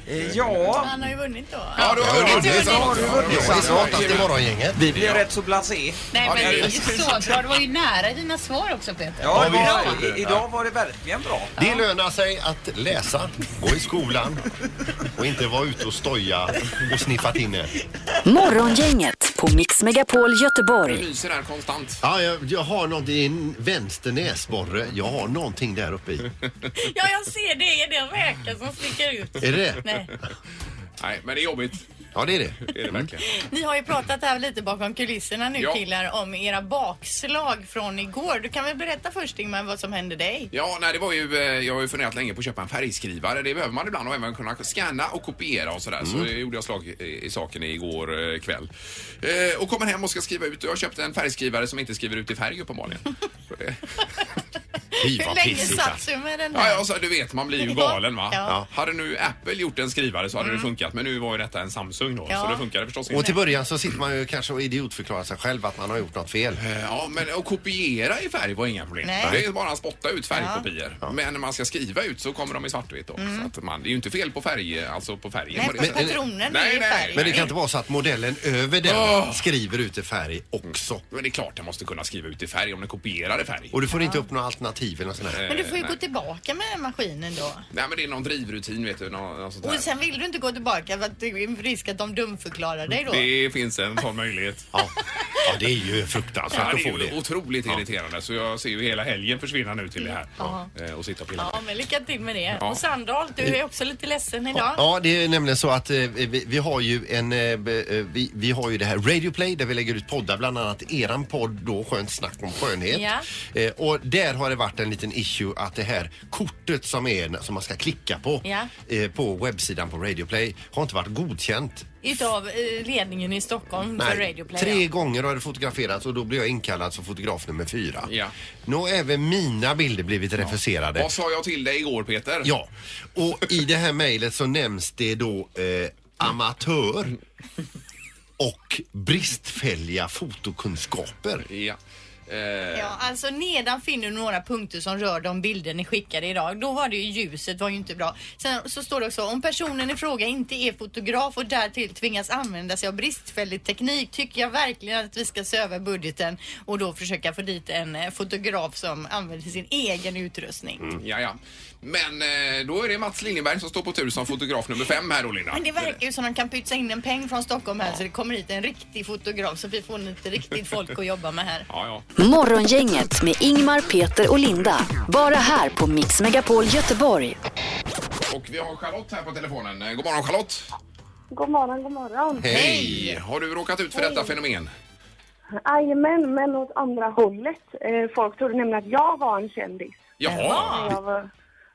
Speaker 2: Eh, ja,
Speaker 11: Han har ju vunnit då.
Speaker 3: Ja, du har vunnit.
Speaker 5: vunnit.
Speaker 3: det är sant.
Speaker 5: Jag är smartast i morgongänget.
Speaker 2: vi blir rätt så blasé.
Speaker 6: Nej
Speaker 3: Ja,
Speaker 6: men
Speaker 3: det är
Speaker 6: det är ju
Speaker 3: det.
Speaker 6: så bra. Det var ju nära dina svar också Peter.
Speaker 2: Ja, det
Speaker 5: Ja,
Speaker 2: var,
Speaker 5: visst.
Speaker 2: i, idag var det verkligen bra.
Speaker 5: Det lönar sig att läsa, gå i skolan och inte vara ute och stoja och sniffa tinne.
Speaker 1: Morgongänget på Mix Megapol
Speaker 3: Du
Speaker 1: Göteborg.
Speaker 3: lyser här konstant.
Speaker 5: Ja, jag, jag har någonting i en vänster näsborre. Jag har någonting där uppe i.
Speaker 11: Ja, jag ser det. Är det en räka som sticker ut?
Speaker 5: Är det det?
Speaker 11: Nej.
Speaker 3: Nej, men det är jobbigt.
Speaker 5: Ja, det är det.
Speaker 3: Det är det verkligen.
Speaker 4: Ni har ju pratat här lite bakom kulisserna nu
Speaker 3: Ja.
Speaker 4: killar om era bakslag från igår. Du kan väl berätta först Ingmar vad som hände dig?
Speaker 3: Ja, nej, det var ju, eh, jag har ju funderat länge på att köpa en färgskrivare. Det behöver man ibland och även kunna scanna och kopiera och sådär. Så
Speaker 5: Mm.
Speaker 3: det gjorde jag slag i, i saken igår eh, kväll. Eh, och kommer hem och ska skriva ut. Jag köpte en färgskrivare som inte skriver ut i färg uppenbarligen.
Speaker 5: Fy,
Speaker 4: Hur
Speaker 5: vad
Speaker 4: länge
Speaker 5: pissigt. alltså.
Speaker 4: satt du med den
Speaker 3: alltså. Ja,
Speaker 4: här?
Speaker 3: ja, så, du vet, man blir ju galen va?
Speaker 4: Ja. Ja.
Speaker 3: Hade nu Apple gjort en skrivare så hade det funkat. Men nu var ju detta en Samsung då,
Speaker 4: Ja.
Speaker 3: så det funkade förstås
Speaker 5: Och
Speaker 3: inte.
Speaker 5: till början så sitter man ju kanske och idiotförklarar sig själv att man har gjort något fel.
Speaker 3: Eh, Ja, men att kopiera i färg var inga problem.
Speaker 4: Nej.
Speaker 3: Det är bara att spotta ut färgkopior. Men när man ska skriva ut så kommer de i svartvitt då. Så att man, det är ju inte fel på färg, alltså på färgen.
Speaker 4: Mm. Nej,
Speaker 3: på det
Speaker 4: på
Speaker 3: sättet.
Speaker 4: patronen
Speaker 3: Nej,
Speaker 4: är i
Speaker 3: nej.
Speaker 4: färg.
Speaker 5: Men det kan inte vara så att modellen över den
Speaker 3: Åh.
Speaker 5: skriver ut i färg också.
Speaker 3: Men det är klart den måste kunna skriva ut i färg om den kopierar i färg.
Speaker 5: Och du får inte upp några alternativ eller något sånt där.
Speaker 4: Men du får ju
Speaker 3: Eh,
Speaker 4: gå tillbaka med maskinen då.
Speaker 3: Nej, men det är någon drivrutin vet du. Någon, någon sånt
Speaker 4: Och
Speaker 3: där.
Speaker 4: sen vill du inte gå tillbaka för att det är risk att de dumförklarar dig då.
Speaker 3: Det finns en sån möjlighet.
Speaker 5: Ja. ja, det är ju fruktansvärt
Speaker 3: Ja,
Speaker 5: att
Speaker 3: det
Speaker 5: få
Speaker 3: är ju
Speaker 5: det.
Speaker 3: otroligt irriterande så jag ser ju hela helgen försvinna nu till det här. Eh, Och sitta och pilla.
Speaker 4: Ja, men lycka till med det.
Speaker 3: Ja.
Speaker 4: Och Sandholt, du är också lite ledsen idag.
Speaker 5: Ja, det är nämligen så att eh, vi, vi har ju en, eh, be- eh, vi, vi har ju det här Radio Play där vi lägger ut poddar, bland annat eran podd då Skönt snack om skönhet.
Speaker 4: Ja.
Speaker 5: Eh, och där har det varit en liten issue att det här kortet som är som man ska klicka på
Speaker 4: Ja.
Speaker 5: eh, på webbsidan på Radio Play har inte varit godkänt.
Speaker 4: Utav eh, ledningen i Stockholm Mm, för Radio Play.
Speaker 5: Tre
Speaker 4: ja.
Speaker 5: gånger har det fotograferats och då blev jag inkallad som fotograf nummer fyra.
Speaker 3: Ja.
Speaker 5: Nu har även mina bilder blivit refuserade.
Speaker 3: Vad sa jag till dig igår Peter?
Speaker 5: Ja, och i det här mejlet så nämns det då eh, amatör och bristfälliga fotokunskaper.
Speaker 3: Ja. Eh,
Speaker 4: Ja, alltså nedan finner du några punkter som rör de bilder ni skickade idag. Då var det ju ljuset var ju inte bra. Sen så står det också om personen i fråga inte är fotograf och därtill tvingas använda sig av bristfällig teknik tycker jag verkligen att vi ska se över budgeten och då försöka få dit en eh, fotograf som använder sin egen utrustning.
Speaker 3: Ja, ja. Men eh, då är det Mats Liljeberg som står på tur som fotograf nummer fem här då, Linda.
Speaker 4: Men det verkar ju som de kan pytsa in en peng från Stockholm här så det kommer hit en riktig fotograf så vi får inte riktigt folk att jobba med här.
Speaker 3: Ja, ja.
Speaker 1: Morgongänget med Ingmar, Peter och Linda. Bara här på Mix Megapol Göteborg.
Speaker 3: Och vi har Charlotte här på telefonen. Eh, God morgon Charlotte!
Speaker 10: God morgon, god morgon.
Speaker 5: Hej!
Speaker 3: Har du råkat ut för detta fenomen?
Speaker 10: Jajamän, men åt andra hållet. Eh, folk trodde nämligen att jag var en kändis.
Speaker 3: Jaha!
Speaker 10: Jag var,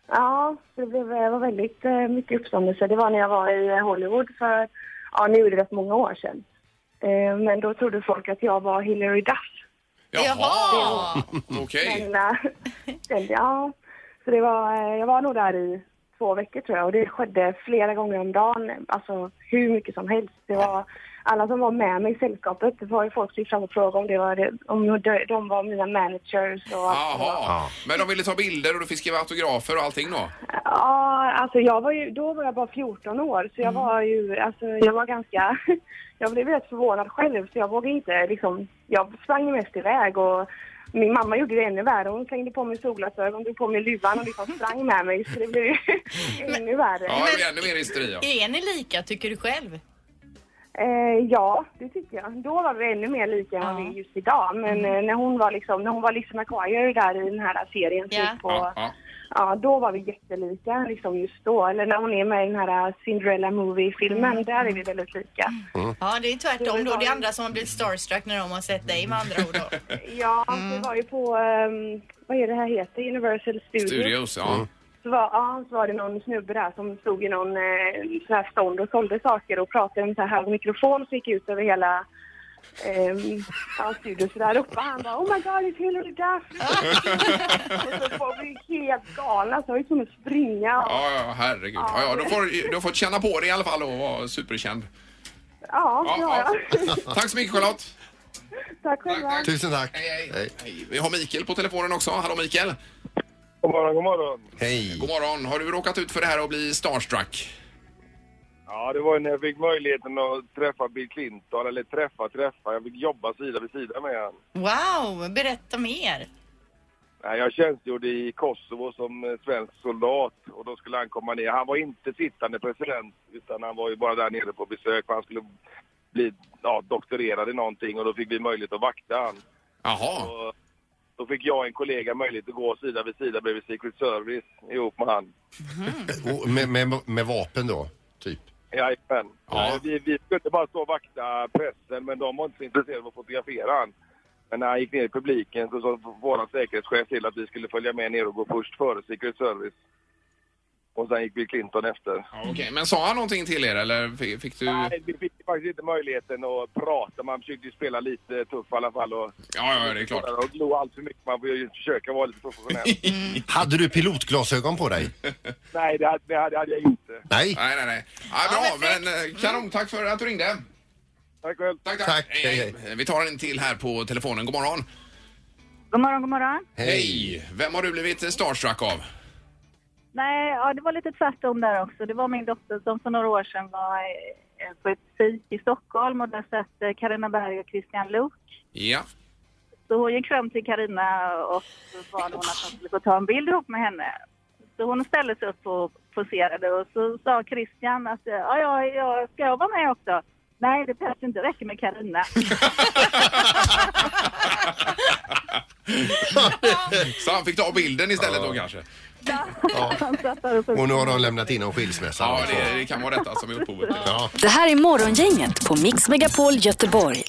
Speaker 10: ja, det blev, eh, var väldigt eh, mycket uppståndelse. Det var när jag var i eh, Hollywood för, ja nu är det rätt många år sedan. Eh, men då trodde folk att jag var Hillary Duff.
Speaker 3: Jaha!
Speaker 10: Den
Speaker 3: Okej.
Speaker 10: lilla- den- ja, så det var, eh, jag var nog där i två veckor tror jag och det skedde flera gånger om dagen, alltså hur mycket som helst. Det var, alla som var med mig i sällskapet, det var ju folk som gick fram och frågade om, det var, om de- de var mina managers och allt det var.
Speaker 3: Jaha. Men de ville ta bilder och du fick skriva autografer och allting då?
Speaker 10: Ja, alltså jag var ju, då var jag bara 14 år så jag
Speaker 4: Mm.
Speaker 10: var ju, alltså jag var ganska, jag blev rätt förvånad själv så jag vågade inte liksom, jag sprang ju mest iväg och min mamma gjorde det ännu värre, hon slängde på mig solglasögon, drog på mig luvan och liksom sprang med mig så det blev ju ännu värre.
Speaker 3: Ja, det är ännu mer hysteri. Ja.
Speaker 4: Är ni lika tycker du själv?
Speaker 10: Eh, ja, det tycker jag. Då var vi ännu mer lika än vad vi är just idag men
Speaker 4: Mm.
Speaker 10: eh, när hon var liksom, när hon var Lisa McGuire där i den här serien som
Speaker 4: Ja.
Speaker 10: gick på
Speaker 3: Ja, ja.
Speaker 10: Ja, då var vi jättelika liksom just då. Eller när hon är med i den här äh, Cinderella Movie-filmen,
Speaker 3: Mm.
Speaker 10: där är vi väldigt lika.
Speaker 4: Ja, det är tvärtom då. Det är andra som har blivit starstruck när de har sett dig med andra ord då.
Speaker 10: Ja,
Speaker 4: Mm.
Speaker 10: vi var ju på, ehm, vad är det här heter, Universal Studios.
Speaker 3: Studios, ja.
Speaker 10: Så, var, ja, så var det någon snubbe där som stod i någon eh, sån här stånd och sålde saker och pratade med så här hög mikrofon som gick ut över hela ehm, ja, studion. Så där uppe han bara Oh my god, it's Hillary Duff! och så folk blev helt galna, så jag var ju tvungen att springa. Och,
Speaker 3: Ja, ja, herregud. Ja, ja, du, får, du har fått känna på det i alla fall och vara superkänd.
Speaker 10: ja, det har
Speaker 3: Ja,
Speaker 10: jag.
Speaker 3: ja. Tack så mycket Charlotte!
Speaker 10: Tack själva.
Speaker 5: Tusen tack.
Speaker 3: Hej, hej. Hej. Vi har Mikael på telefonen också. Hallå Mikael!
Speaker 10: God morgon, god morgon.
Speaker 5: Hej.
Speaker 3: God morgon. Har du råkat ut för det här att bli starstruck?
Speaker 10: Ja, det var ju när jag fick möjligheten att träffa Bill Clinton, eller träffa, träffa. Jag fick jobba sida vid sida med han.
Speaker 4: Wow, berätta mer.
Speaker 10: Nej, Jag tjänstgjorde i Kosovo som eh, svensk soldat och då skulle han komma ner. Han var inte sittande president utan han var ju bara där nere på besök för han skulle bli ja, doktorerad i någonting och då fick vi möjlighet att vakta han.
Speaker 3: Jaha.
Speaker 10: Och då fick jag och en kollega möjlighet att gå sida vid sida bredvid Secret Service ihop med han.
Speaker 5: Och med, med, med vapen då, typ.
Speaker 12: Jajamän.
Speaker 3: Ja.
Speaker 12: Eh, Vi, vi skulle bara stå och vakta pressen, men de var inte så intresserade av att fotografera han. Men när han gick ner i publiken så sa vår säkerhetschef till att vi skulle följa med ner och gå först före Secret Service. Och sen gick Bill Clinton efter.
Speaker 3: Okej, men sa han någonting till er eller fick, fick du?
Speaker 12: Nej, vi fick faktiskt inte möjligheten att prata. Man försökte ju spela lite tuff i alla fall. Och,
Speaker 3: Ja, ja, det är klart.
Speaker 12: Och glo allt för mycket. Man får ju försöka vara lite professionell.
Speaker 3: Mm.
Speaker 5: Hade du pilotglasögon på dig?
Speaker 12: Nej, det hade, det hade det hade jag inte.
Speaker 5: Nej.
Speaker 3: Nej, nej, nej. Ja, bra, men
Speaker 5: Mm.
Speaker 3: eh, kanon. Tack för att du ringde.
Speaker 12: Tack själv.
Speaker 3: Tack, tack. Hej, hej. Vi tar en till här på telefonen. God morgon.
Speaker 13: God morgon, god morgon.
Speaker 3: Hej. Vem har du blivit eh, starstruck av?
Speaker 13: Nej, ja, det var lite tvärtom där också. Det var min dotter som för några år sedan var eh, på ett fik i Stockholm och där satt eh, Carina Berg och Christian Luuk.
Speaker 3: Ja.
Speaker 13: Så hon gick fram till Carina och bad hon att hon skulle få ta en bild ihop med henne. Så hon ställde sig upp och poserade och så sa Christian att eh, ja, ja, ja ska jag vara med också? Nej, det behövs inte. Det räcker med Carina.
Speaker 3: Så han fick ta bilden istället då kanske?
Speaker 13: Han satt där och
Speaker 5: Och nu har de lämnat in om skilsmässa.
Speaker 3: Ja, det, det kan vara detta som är upphovet.
Speaker 5: Ja.
Speaker 1: Det här är Morgongänget på Mix Megapol Göteborg.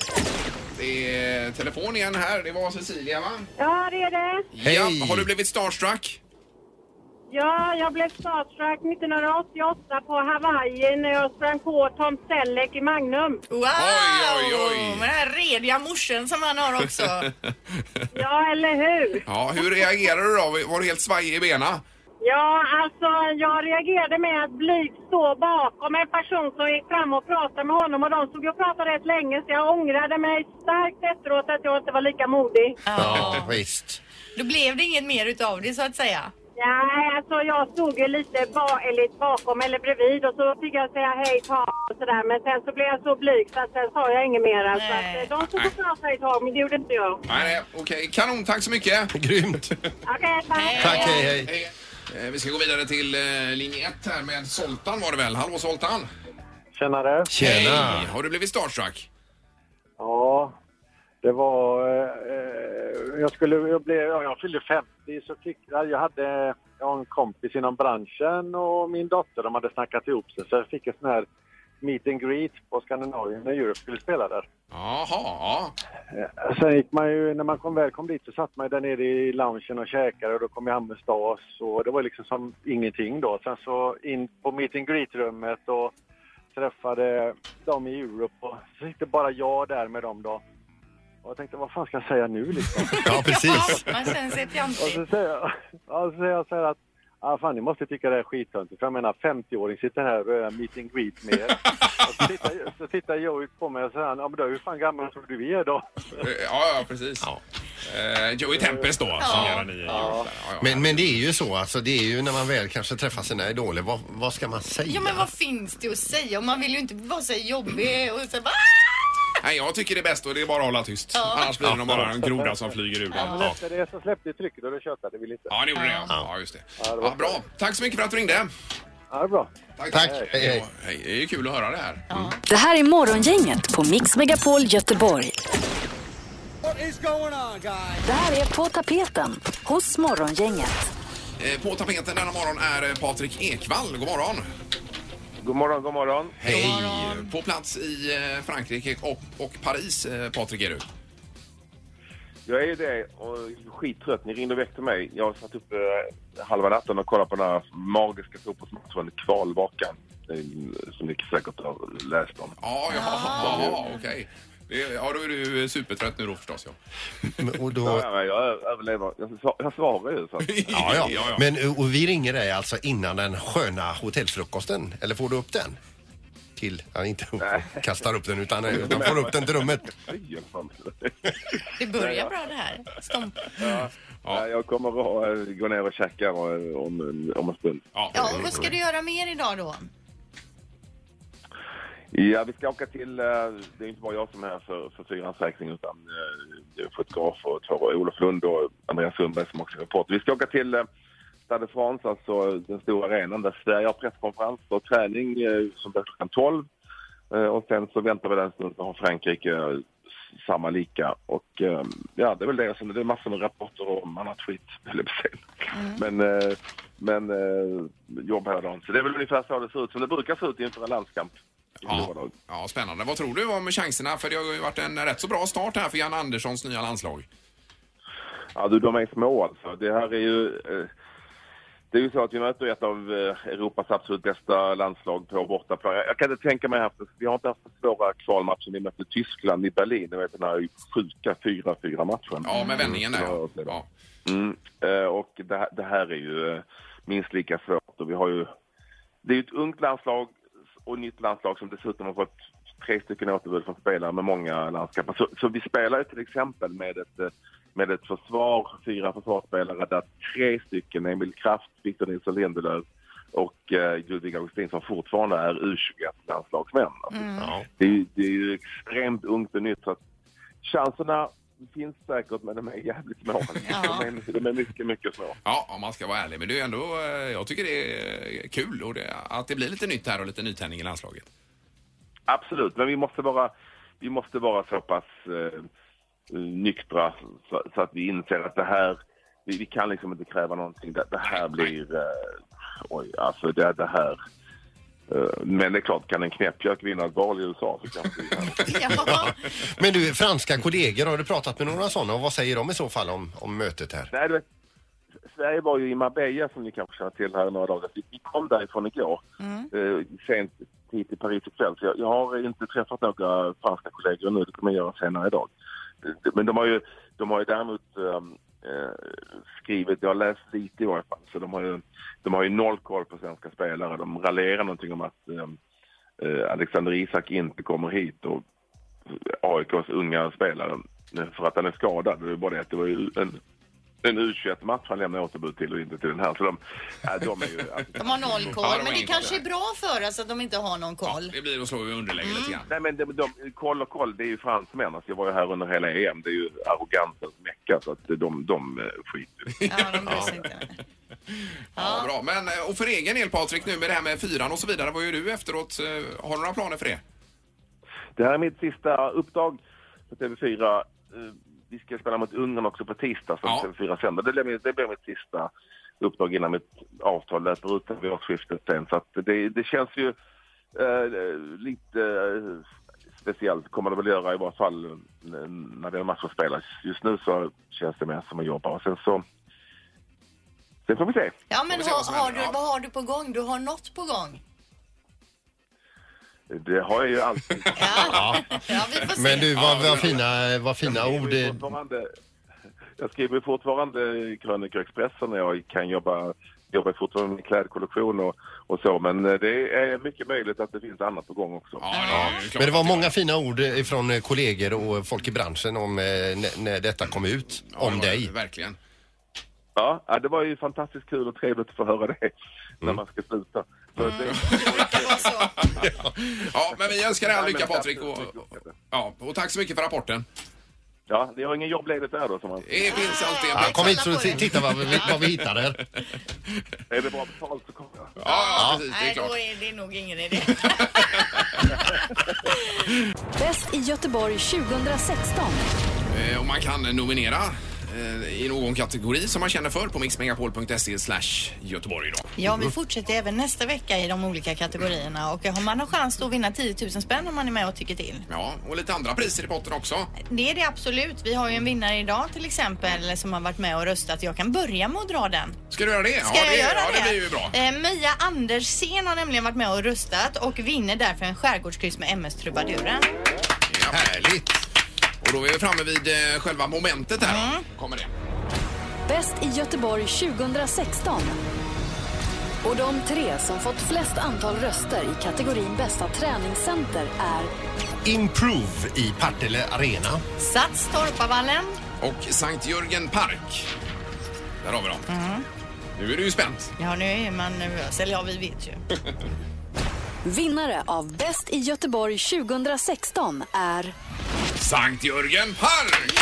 Speaker 3: Det är telefon igen här. Det var Cecilia, va?
Speaker 13: Ja, det är det.
Speaker 3: Ja, har du blivit starstruck?
Speaker 13: Ja, jag blev starstruck 1988 på Hawaii när jag sprang på Tom Selleck i Magnum.
Speaker 4: Wow! Men den här rediga morsen som han har också.
Speaker 13: Ja, eller hur?
Speaker 3: Ja, hur reagerar du då? Var du helt svajig i benen?
Speaker 13: Ja, alltså jag reagerade med att blygt stå bakom en person som gick fram och pratade med honom och de stod ju och pratade rätt länge så jag ångrade mig starkt efteråt att jag inte var lika modig.
Speaker 5: Ja, visst.
Speaker 4: Då blev det inget mer utav det så att säga.
Speaker 13: Nej, alltså jag stod ju lite ba- eller lite bakom eller bredvid och så fick jag säga hej Tom och sådär men sen så blev jag så blyg så att sen sa jag inget mer. Så att, eh, de stod och pratade ett tag men det gjorde inte jag.
Speaker 3: Nej, nej. Okej, kanon. Tack så mycket.
Speaker 5: Grymt.
Speaker 13: Okej, bye.
Speaker 3: Eh, Vi ska gå vidare till eh, linje 1 här med Soltan var det väl? Hallå Soltan!
Speaker 14: Tjenare!
Speaker 3: Hej. Har du blivit starstruck?
Speaker 14: Ja, det var... eh, Eh, jag, skulle, jag, blev, ja, jag fyllde 50 så tyckte jag... Jag hade jag har en kompis inom branschen och min dotter. De hade snackat ihop sig så jag fick en sån här meet and greet på Skandinavien när Europe skulle spela där.
Speaker 3: Jaha, ja.
Speaker 14: Eh, Sen gick man ju, när man kom, väl kom dit så satt man ju där nere i loungen och käkade och då kom ju Hammestas och det var liksom som ingenting då. Sen så in på meet and greet-rummet och träffade dem i Europe och så sitter bara jag där med dem då. Och jag tänkte, vad fan ska jag säga nu liksom?
Speaker 5: Ja,
Speaker 4: Ja, man känner sig
Speaker 14: Och
Speaker 4: fjantig.
Speaker 14: så säger jag, ja, så säger jag så här att Ah, fan, ni måste tycka det här är skittöntigt. För jag menar, 50-åring sitter här och eh, meet and greet med er. Och så tittar, så tittar jag ut på mig och säger, ja men då, hur fan gammal tror du vi är då?
Speaker 3: Eh, Ja, ja precis. Eh, Joey Tempest då, som gör en ny ja.
Speaker 5: Men, men det är ju så, alltså, det är ju när man väl kanske träffar sina idoler, vad, vad ska man säga?
Speaker 4: Ja men vad finns det att säga? Och Man vill ju inte vara så här jobbig och så bara...
Speaker 3: Nej, jag tycker det är bäst och det är bara att hålla tyst.
Speaker 4: Ja.
Speaker 3: Annars blir det nog bara en groda som flyger ur den.
Speaker 14: Ja.
Speaker 3: Ja,
Speaker 14: Släppte det så släppte trycket och då tjötade vi lite.
Speaker 3: ja det gjorde det. Ja. ja, just det. Ja, bra. Tack så mycket för att du ringde.
Speaker 14: Ja, det är bra.
Speaker 3: Tack,
Speaker 5: Tack.
Speaker 3: Hej, hej. hej. Det är ju kul att höra det här.
Speaker 1: Det här är Morgongänget på Mix Megapol Göteborg. Det här är På tapeten hos Morgongänget.
Speaker 3: Eh, På tapeten denna morgon är eh, Patrik Ekwall. God morgon!
Speaker 12: God morgon, god morgon.
Speaker 3: Hej! På plats i eh, Frankrike och, och Paris, eh, Patrik, är du.
Speaker 12: Jag är det och skittrött. Ni ringde och väckte mig. Jag satt uppe eh, halva natten och kollade på den här magiska fotbollsmatchen, kvalvakan, eh, som ni säkert har läst om.
Speaker 3: Ja, ja,
Speaker 12: Ah.
Speaker 3: ja okej. Det- Ja, då är du eh, supertrött nu då förstås. Ja.
Speaker 5: Och
Speaker 12: Ja,
Speaker 5: då,
Speaker 12: ja, men jag ö- överlever. Jag, sva- jag svarar ju. Så. att-
Speaker 5: ja, ja. Men, eh, och vi ringer dig alltså innan den sköna hotellfrukosten, eller får du upp den? Till, ja, inte upp, kastar upp den utan, eh, utan får upp den till rummet.
Speaker 12: Fy, fan.
Speaker 4: Det börjar bra det här. Stomp.
Speaker 12: Ja. Ja, jag kommer att eh, gå ner och käka eh, om, en- om en stund.
Speaker 4: Ja, och vad ska du göra mer idag då?
Speaker 12: Ja, vi ska åka till... eh, Det är inte bara jag som är här för, för fyrans räkning utan eh, det är en fotograf och två Olof Lund och Andreas Sundberg som också är reporter. Vi ska åka till eh, Stade de France, alltså den stora arenan där Sverige har presskonferens och träning eh, som börjar klockan 12. Eh, Och sen så väntar vi där en stund och har Frankrike eh, samma lika. Och eh, ja, det är väl det. Sen är det massor med rapporter om annat skit, höll jag på att säga. Men eh, men eh, jobb här dagen. Så det är väl ungefär så det ser ut, som det brukar se ut inför en landskamp.
Speaker 3: Ja. ja, spännande. Vad tror du om chanserna? För det har ju varit en rätt så bra start här för Jan Anderssons nya landslag.
Speaker 12: Ja, du, de är små alltså. Det här är ju... eh, Det är ju så att vi möter ett av eh, Europas absolut bästa landslag på bortaplan. Jag jag kan inte tänka mig haft... Vi har inte haft svåra kvalmatcher. Vi mötte Tyskland i Berlin. Jag vet den här sjuka 4-4-matchen.
Speaker 3: Ja, med vändningen där, ja.
Speaker 12: Ja. Mm. eh, Och det, här- det här är ju eh, minst lika svårt. Och vi har ju... Det är ju ett ungt landslag och nytt landslag som dessutom har fått tre stycken återbud från spelare med många landskamper. Så, så vi spelar ju till exempel med ett, eh, med ett försvar, fyra försvarsspelare där tre stycken, Emil Kraft, Victor Nilsson Lindelöf och eh, Ludvig Augustin som fortfarande är U21-landslagsmän. Det, är ju- det är ju extremt ungt och nytt. Så att chanserna finns säkert, men de är jävligt små. De, är, de är mycket, mycket små.
Speaker 3: Ja, om man ska vara ärlig. Men det är ändå, eh, jag tycker det är kul och det, att det blir lite nytt här och lite nytändning i landslaget.
Speaker 12: Absolut, men vi måste vara, vi måste vara så pass eh, nyktra så, så att vi inser att det här, vi, vi kan liksom inte kräva någonting. Det, det här blir, eh, oj, alltså det, det här. eh, Men det är klart, kan en knäppjök vinna ett val i USA så kan vi
Speaker 5: Men du, franska kollegor, har du pratat med några sådana och vad säger de i så fall om, om mötet här?
Speaker 12: Nej, du vet, Sverige var ju i Marbella som ni kanske känner till här i några dagar. Vi vi kom därifrån igår,
Speaker 15: Mm.
Speaker 12: eh, sent hit till Paris ikväll. Så jag, jag har inte träffat några franska kollegor nu, det kommer jag göra senare idag. Eh, Men de har ju, de har ju däremot ehm, eh, skrivit, jag har läst lite i varje fall, så de har ju, de har ju noll koll på svenska spelare. De raljerar någonting om att ehm, eh, Alexander Isak inte kommer hit och eh, AIKs unga spelare eh, för att han är skadad. Det var bara det att det var ju en en U21-match han lämnar återbud till och inte till den här. Så de, äh, de är ju... Alltså,
Speaker 4: De har noll koll,
Speaker 12: Ja, de har
Speaker 4: men det
Speaker 12: ingen
Speaker 4: kanske
Speaker 12: koll.
Speaker 4: är bra för oss att de inte har någon koll.
Speaker 3: Det blir att slå i underläge lite grann.
Speaker 12: Nej, men de, de, koll och koll, det är ju fransmän. Alltså, jag var ju här under hela EM. Det är ju arrogansens mecka, så att de, de eh, skiter ju.
Speaker 3: Ja, bra. Men, eh, och för egen del Patrik, nu med det här med fyran och så vidare, vad gör du efteråt? Eh, Har du några planer för det?
Speaker 12: Det här är mitt sista uppdrag på TV4. Eh, Vi ska spela mot Ungern också på tisdag som TV4 sänder. Det blir, mitt- det blir mitt sista uppdrag innan mitt avtal löper ut här vid årsskiftet sen. Så att det, det känns ju eh, lite eh, speciellt kommer det väl göra i varje fall eh, när det är matcher spelas. Just nu så känns det mer som att jobba och sen så... Sen får vi se.
Speaker 4: Ja, men
Speaker 12: Får vi se
Speaker 4: har,
Speaker 12: vad som
Speaker 4: har du,
Speaker 12: händer, ja.
Speaker 4: vad har du på gång? Du har något på gång.
Speaker 12: Det har jag ju alltid.
Speaker 5: Men du, vad, vad, fina, vad fina ord. eh,
Speaker 12: fortfarande, jag skriver fortfarande i krönikor Expressen och jag kan jobba, jobbar fortfarande med klädkollektion och, och så. Men eh, det är mycket möjligt att det finns annat på gång också.
Speaker 5: Men det var många fina ord eh, från eh, kollegor och folk i branschen om eh, när, när detta kom ut, om dig.
Speaker 3: Verkligen.
Speaker 12: Ja, ja, det var ju fantastiskt kul och trevligt att få höra det när
Speaker 5: Mm.
Speaker 12: man ska sluta. Så det,
Speaker 4: Alltså.
Speaker 3: Ja, men vi önskar dig all
Speaker 12: Nej, men
Speaker 3: lycka
Speaker 12: tack
Speaker 3: Patrik. Och, ja, och tack så mycket för rapporten.
Speaker 12: ja, ni har ingen jobbledigt där då? Som man...
Speaker 3: Det finns alltid en
Speaker 5: Ja, kom hit så du ti- tittar vad vi, vad vi hittar här.
Speaker 12: Är det bra betalt så kommer jag.
Speaker 5: Ja,
Speaker 4: Nej, då är det nog ingen idé.
Speaker 1: Bäst i Göteborg 2016.
Speaker 3: Eh, Och man kan nominera eh, i någon kategori som man känner för på mixmegapol.se slash Göteborg idag.
Speaker 4: Ja, vi fortsätter även nästa vecka i de olika kategorierna och har man har chans då att vinna 10 000 spänn om man är med och tycker till.
Speaker 3: Ja, och lite andra priser i potten också.
Speaker 4: Det är det absolut. Vi har ju en vinnare idag till exempel som har varit med och röstat. Jag kan börja med att dra den.
Speaker 3: Ska du göra det?
Speaker 4: Ska
Speaker 3: ja,
Speaker 4: jag
Speaker 3: det,
Speaker 4: göra
Speaker 3: ja,
Speaker 4: det?
Speaker 3: det blir ju bra.
Speaker 4: Eh, Mia Andersén har nämligen varit med och röstat och vinner därför en skärgårdskryss med MS Trubaduren.
Speaker 3: Ja. Härligt. Och då är vi framme vid eh, själva momentet här.
Speaker 16: Mm.
Speaker 3: Kommer det.
Speaker 1: Bäst i Göteborg 2016. Och de tre som fått flest antal röster i kategorin Bästa träningscenter är
Speaker 5: Improve i Partille Arena.
Speaker 4: Sats Torpavallen.
Speaker 3: Och Sankt Jörgen Park. Där har vi dem. Nu är det ju spänt.
Speaker 4: Ja, nu är man nervös. Eller ja, vi vet ju.
Speaker 1: Vinnare av Bäst i Göteborg 2016 är
Speaker 3: Sankt Jörgen Park!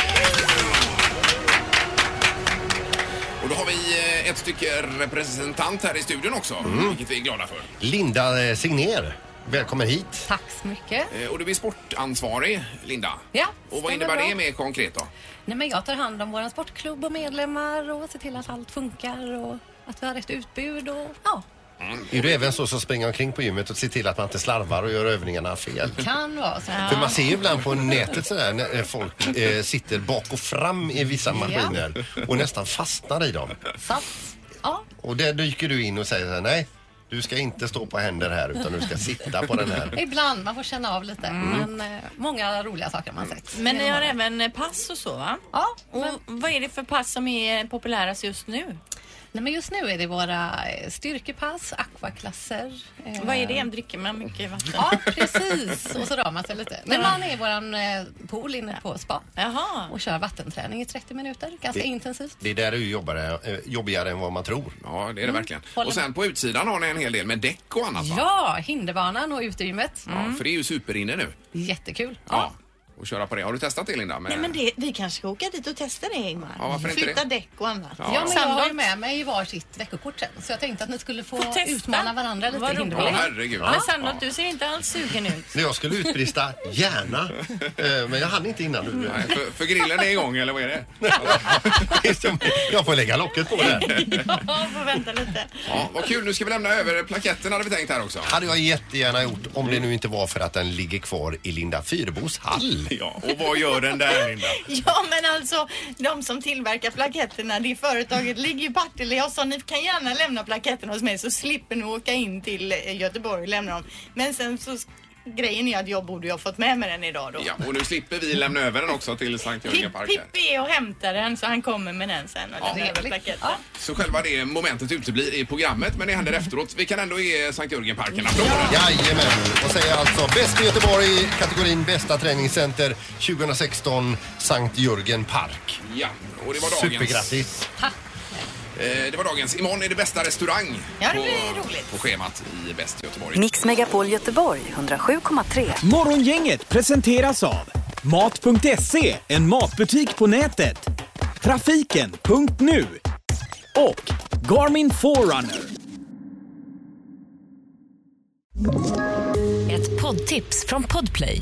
Speaker 3: Och då har vi eh, ett stycke representant här i studion också,
Speaker 5: Mm.
Speaker 3: vilket vi är glada för.
Speaker 5: Linda eh, Signer, välkommen hit.
Speaker 16: Tack så mycket.
Speaker 3: Eh, Och du blir sportansvarig, Linda.
Speaker 16: Ja,
Speaker 3: Och vad
Speaker 16: stämmer
Speaker 3: innebär
Speaker 16: bra.
Speaker 3: det mer konkret då?
Speaker 16: Nej, men jag tar hand om vår sportklubb och medlemmar och ser till att allt funkar och
Speaker 15: att vi har rätt utbud och ja.
Speaker 5: Är du även så som springer omkring på gymmet och ser till att man inte slarvar och gör övningarna fel?
Speaker 4: Kan vara så.
Speaker 5: För man ser ju ibland på nätet sådär när eh, folk eh, sitter bak och fram i vissa
Speaker 4: Ja.
Speaker 5: maskiner och nästan fastnar i dem.
Speaker 4: Sats. Ja.
Speaker 5: Och där dyker du in och säger så här, nej, du ska inte stå på händer här utan du ska sitta på den här. Mm.
Speaker 15: Ibland, man får känna av lite. Men eh, många roliga saker har man sett.
Speaker 4: Men ni
Speaker 15: Genom
Speaker 4: har
Speaker 15: åren.
Speaker 4: även eh, pass och så va?
Speaker 15: Ja.
Speaker 4: Och vad är det för pass som är populärast just nu?
Speaker 15: Nej, men just nu är det våra eh, styrkepass, aquaklasser. eh,
Speaker 4: Vad är det? Dricker man mycket vatten?
Speaker 15: Ja, precis. Och så rör man sig lite. Men man är i våran eh, pool inne på spa och kör vattenträning i 30 minuter. Ganska
Speaker 5: Det-
Speaker 15: intensivt.
Speaker 5: Det där är ju jobbigare, eh, jobbigare än vad man tror.
Speaker 3: Ja, det är det
Speaker 4: Mm.
Speaker 3: verkligen.
Speaker 15: Håller
Speaker 3: Och sen på utsidan har ni en hel del med däck och annat va?
Speaker 15: Ja, hinderbanan och utegymmet.
Speaker 4: Mm.
Speaker 3: Ja, För det är ju superinne nu.
Speaker 15: Mm. Jättekul.
Speaker 3: Ja. Och köra på det. Har du testat det Linda? Med-
Speaker 4: Nej, men det, vi kanske ska åka dit och testa det Ingmar.
Speaker 3: Ja, varför inte
Speaker 4: Flytta
Speaker 3: det?
Speaker 4: däck och annat.
Speaker 3: Ja,
Speaker 15: Ja, men jag har ju
Speaker 4: Sandholt.
Speaker 15: med mig varsitt veckokort sen, så jag tänkte att ni skulle få,
Speaker 4: testa.
Speaker 15: utmana varandra lite.
Speaker 4: Vad
Speaker 15: i
Speaker 4: roligt.
Speaker 5: Ja,
Speaker 15: hinderbanan.
Speaker 5: herregud.
Speaker 4: Men
Speaker 5: Ja.
Speaker 4: Sandholt,
Speaker 5: Ja.
Speaker 4: du ser inte alls sugen ut.
Speaker 5: När jag skulle utbrista gärna, eh, men jag hann inte innan du.
Speaker 3: Nej, för, för grillen är igång eller vad är det?
Speaker 5: jag får lägga locket på det.
Speaker 4: Ja, får vänta lite.
Speaker 3: Ja, vad kul. Nu ska vi lämna över plaketten hade vi tänkt här också.
Speaker 5: Hade jag jättegärna gjort om det nu inte var för att den ligger kvar i Linda Fyrbos hall.
Speaker 3: Ja, och vad gör den där Linda?
Speaker 4: Ja, men alltså de som tillverkar plaketterna, det företaget ligger i Partille. Jag sa ni kan gärna lämna plaketterna hos mig så slipper ni åka in till eh, Göteborg och lämna dem. Men sen så grejen är att jag borde ju ha fått med mig den idag då.
Speaker 3: Ja, och nu slipper vi lämna över den också till Sankt Jörgen
Speaker 4: Pip,
Speaker 3: Park. här.
Speaker 4: Pippi är och hämtar den så han kommer med den sen. Och lämnar över plaketten.
Speaker 3: Så själva det momentet uteblir i programmet, men det händer efteråt. Vi kan ändå ge Sankt Jörgen Park en applåd.
Speaker 5: Jajamän, och säger alltså bäst i Göteborg i kategorin bästa träningscenter 2016 Sankt Jörgen Park.
Speaker 3: Ja, och det var dagens.
Speaker 5: Supergrattis.
Speaker 3: Eh, Det var dagens. Imorgon är det bästa restaurang.
Speaker 4: Ja, det
Speaker 3: på-
Speaker 4: blir roligt.
Speaker 3: På schemat i Bäst Göteborg.
Speaker 1: Mix Megapol Göteborg 107,3.
Speaker 2: Morgongänget presenteras av Mat.se, en matbutik på nätet. Trafiken.nu och Garmin Forerunner.
Speaker 17: Ett poddtips från Podplay.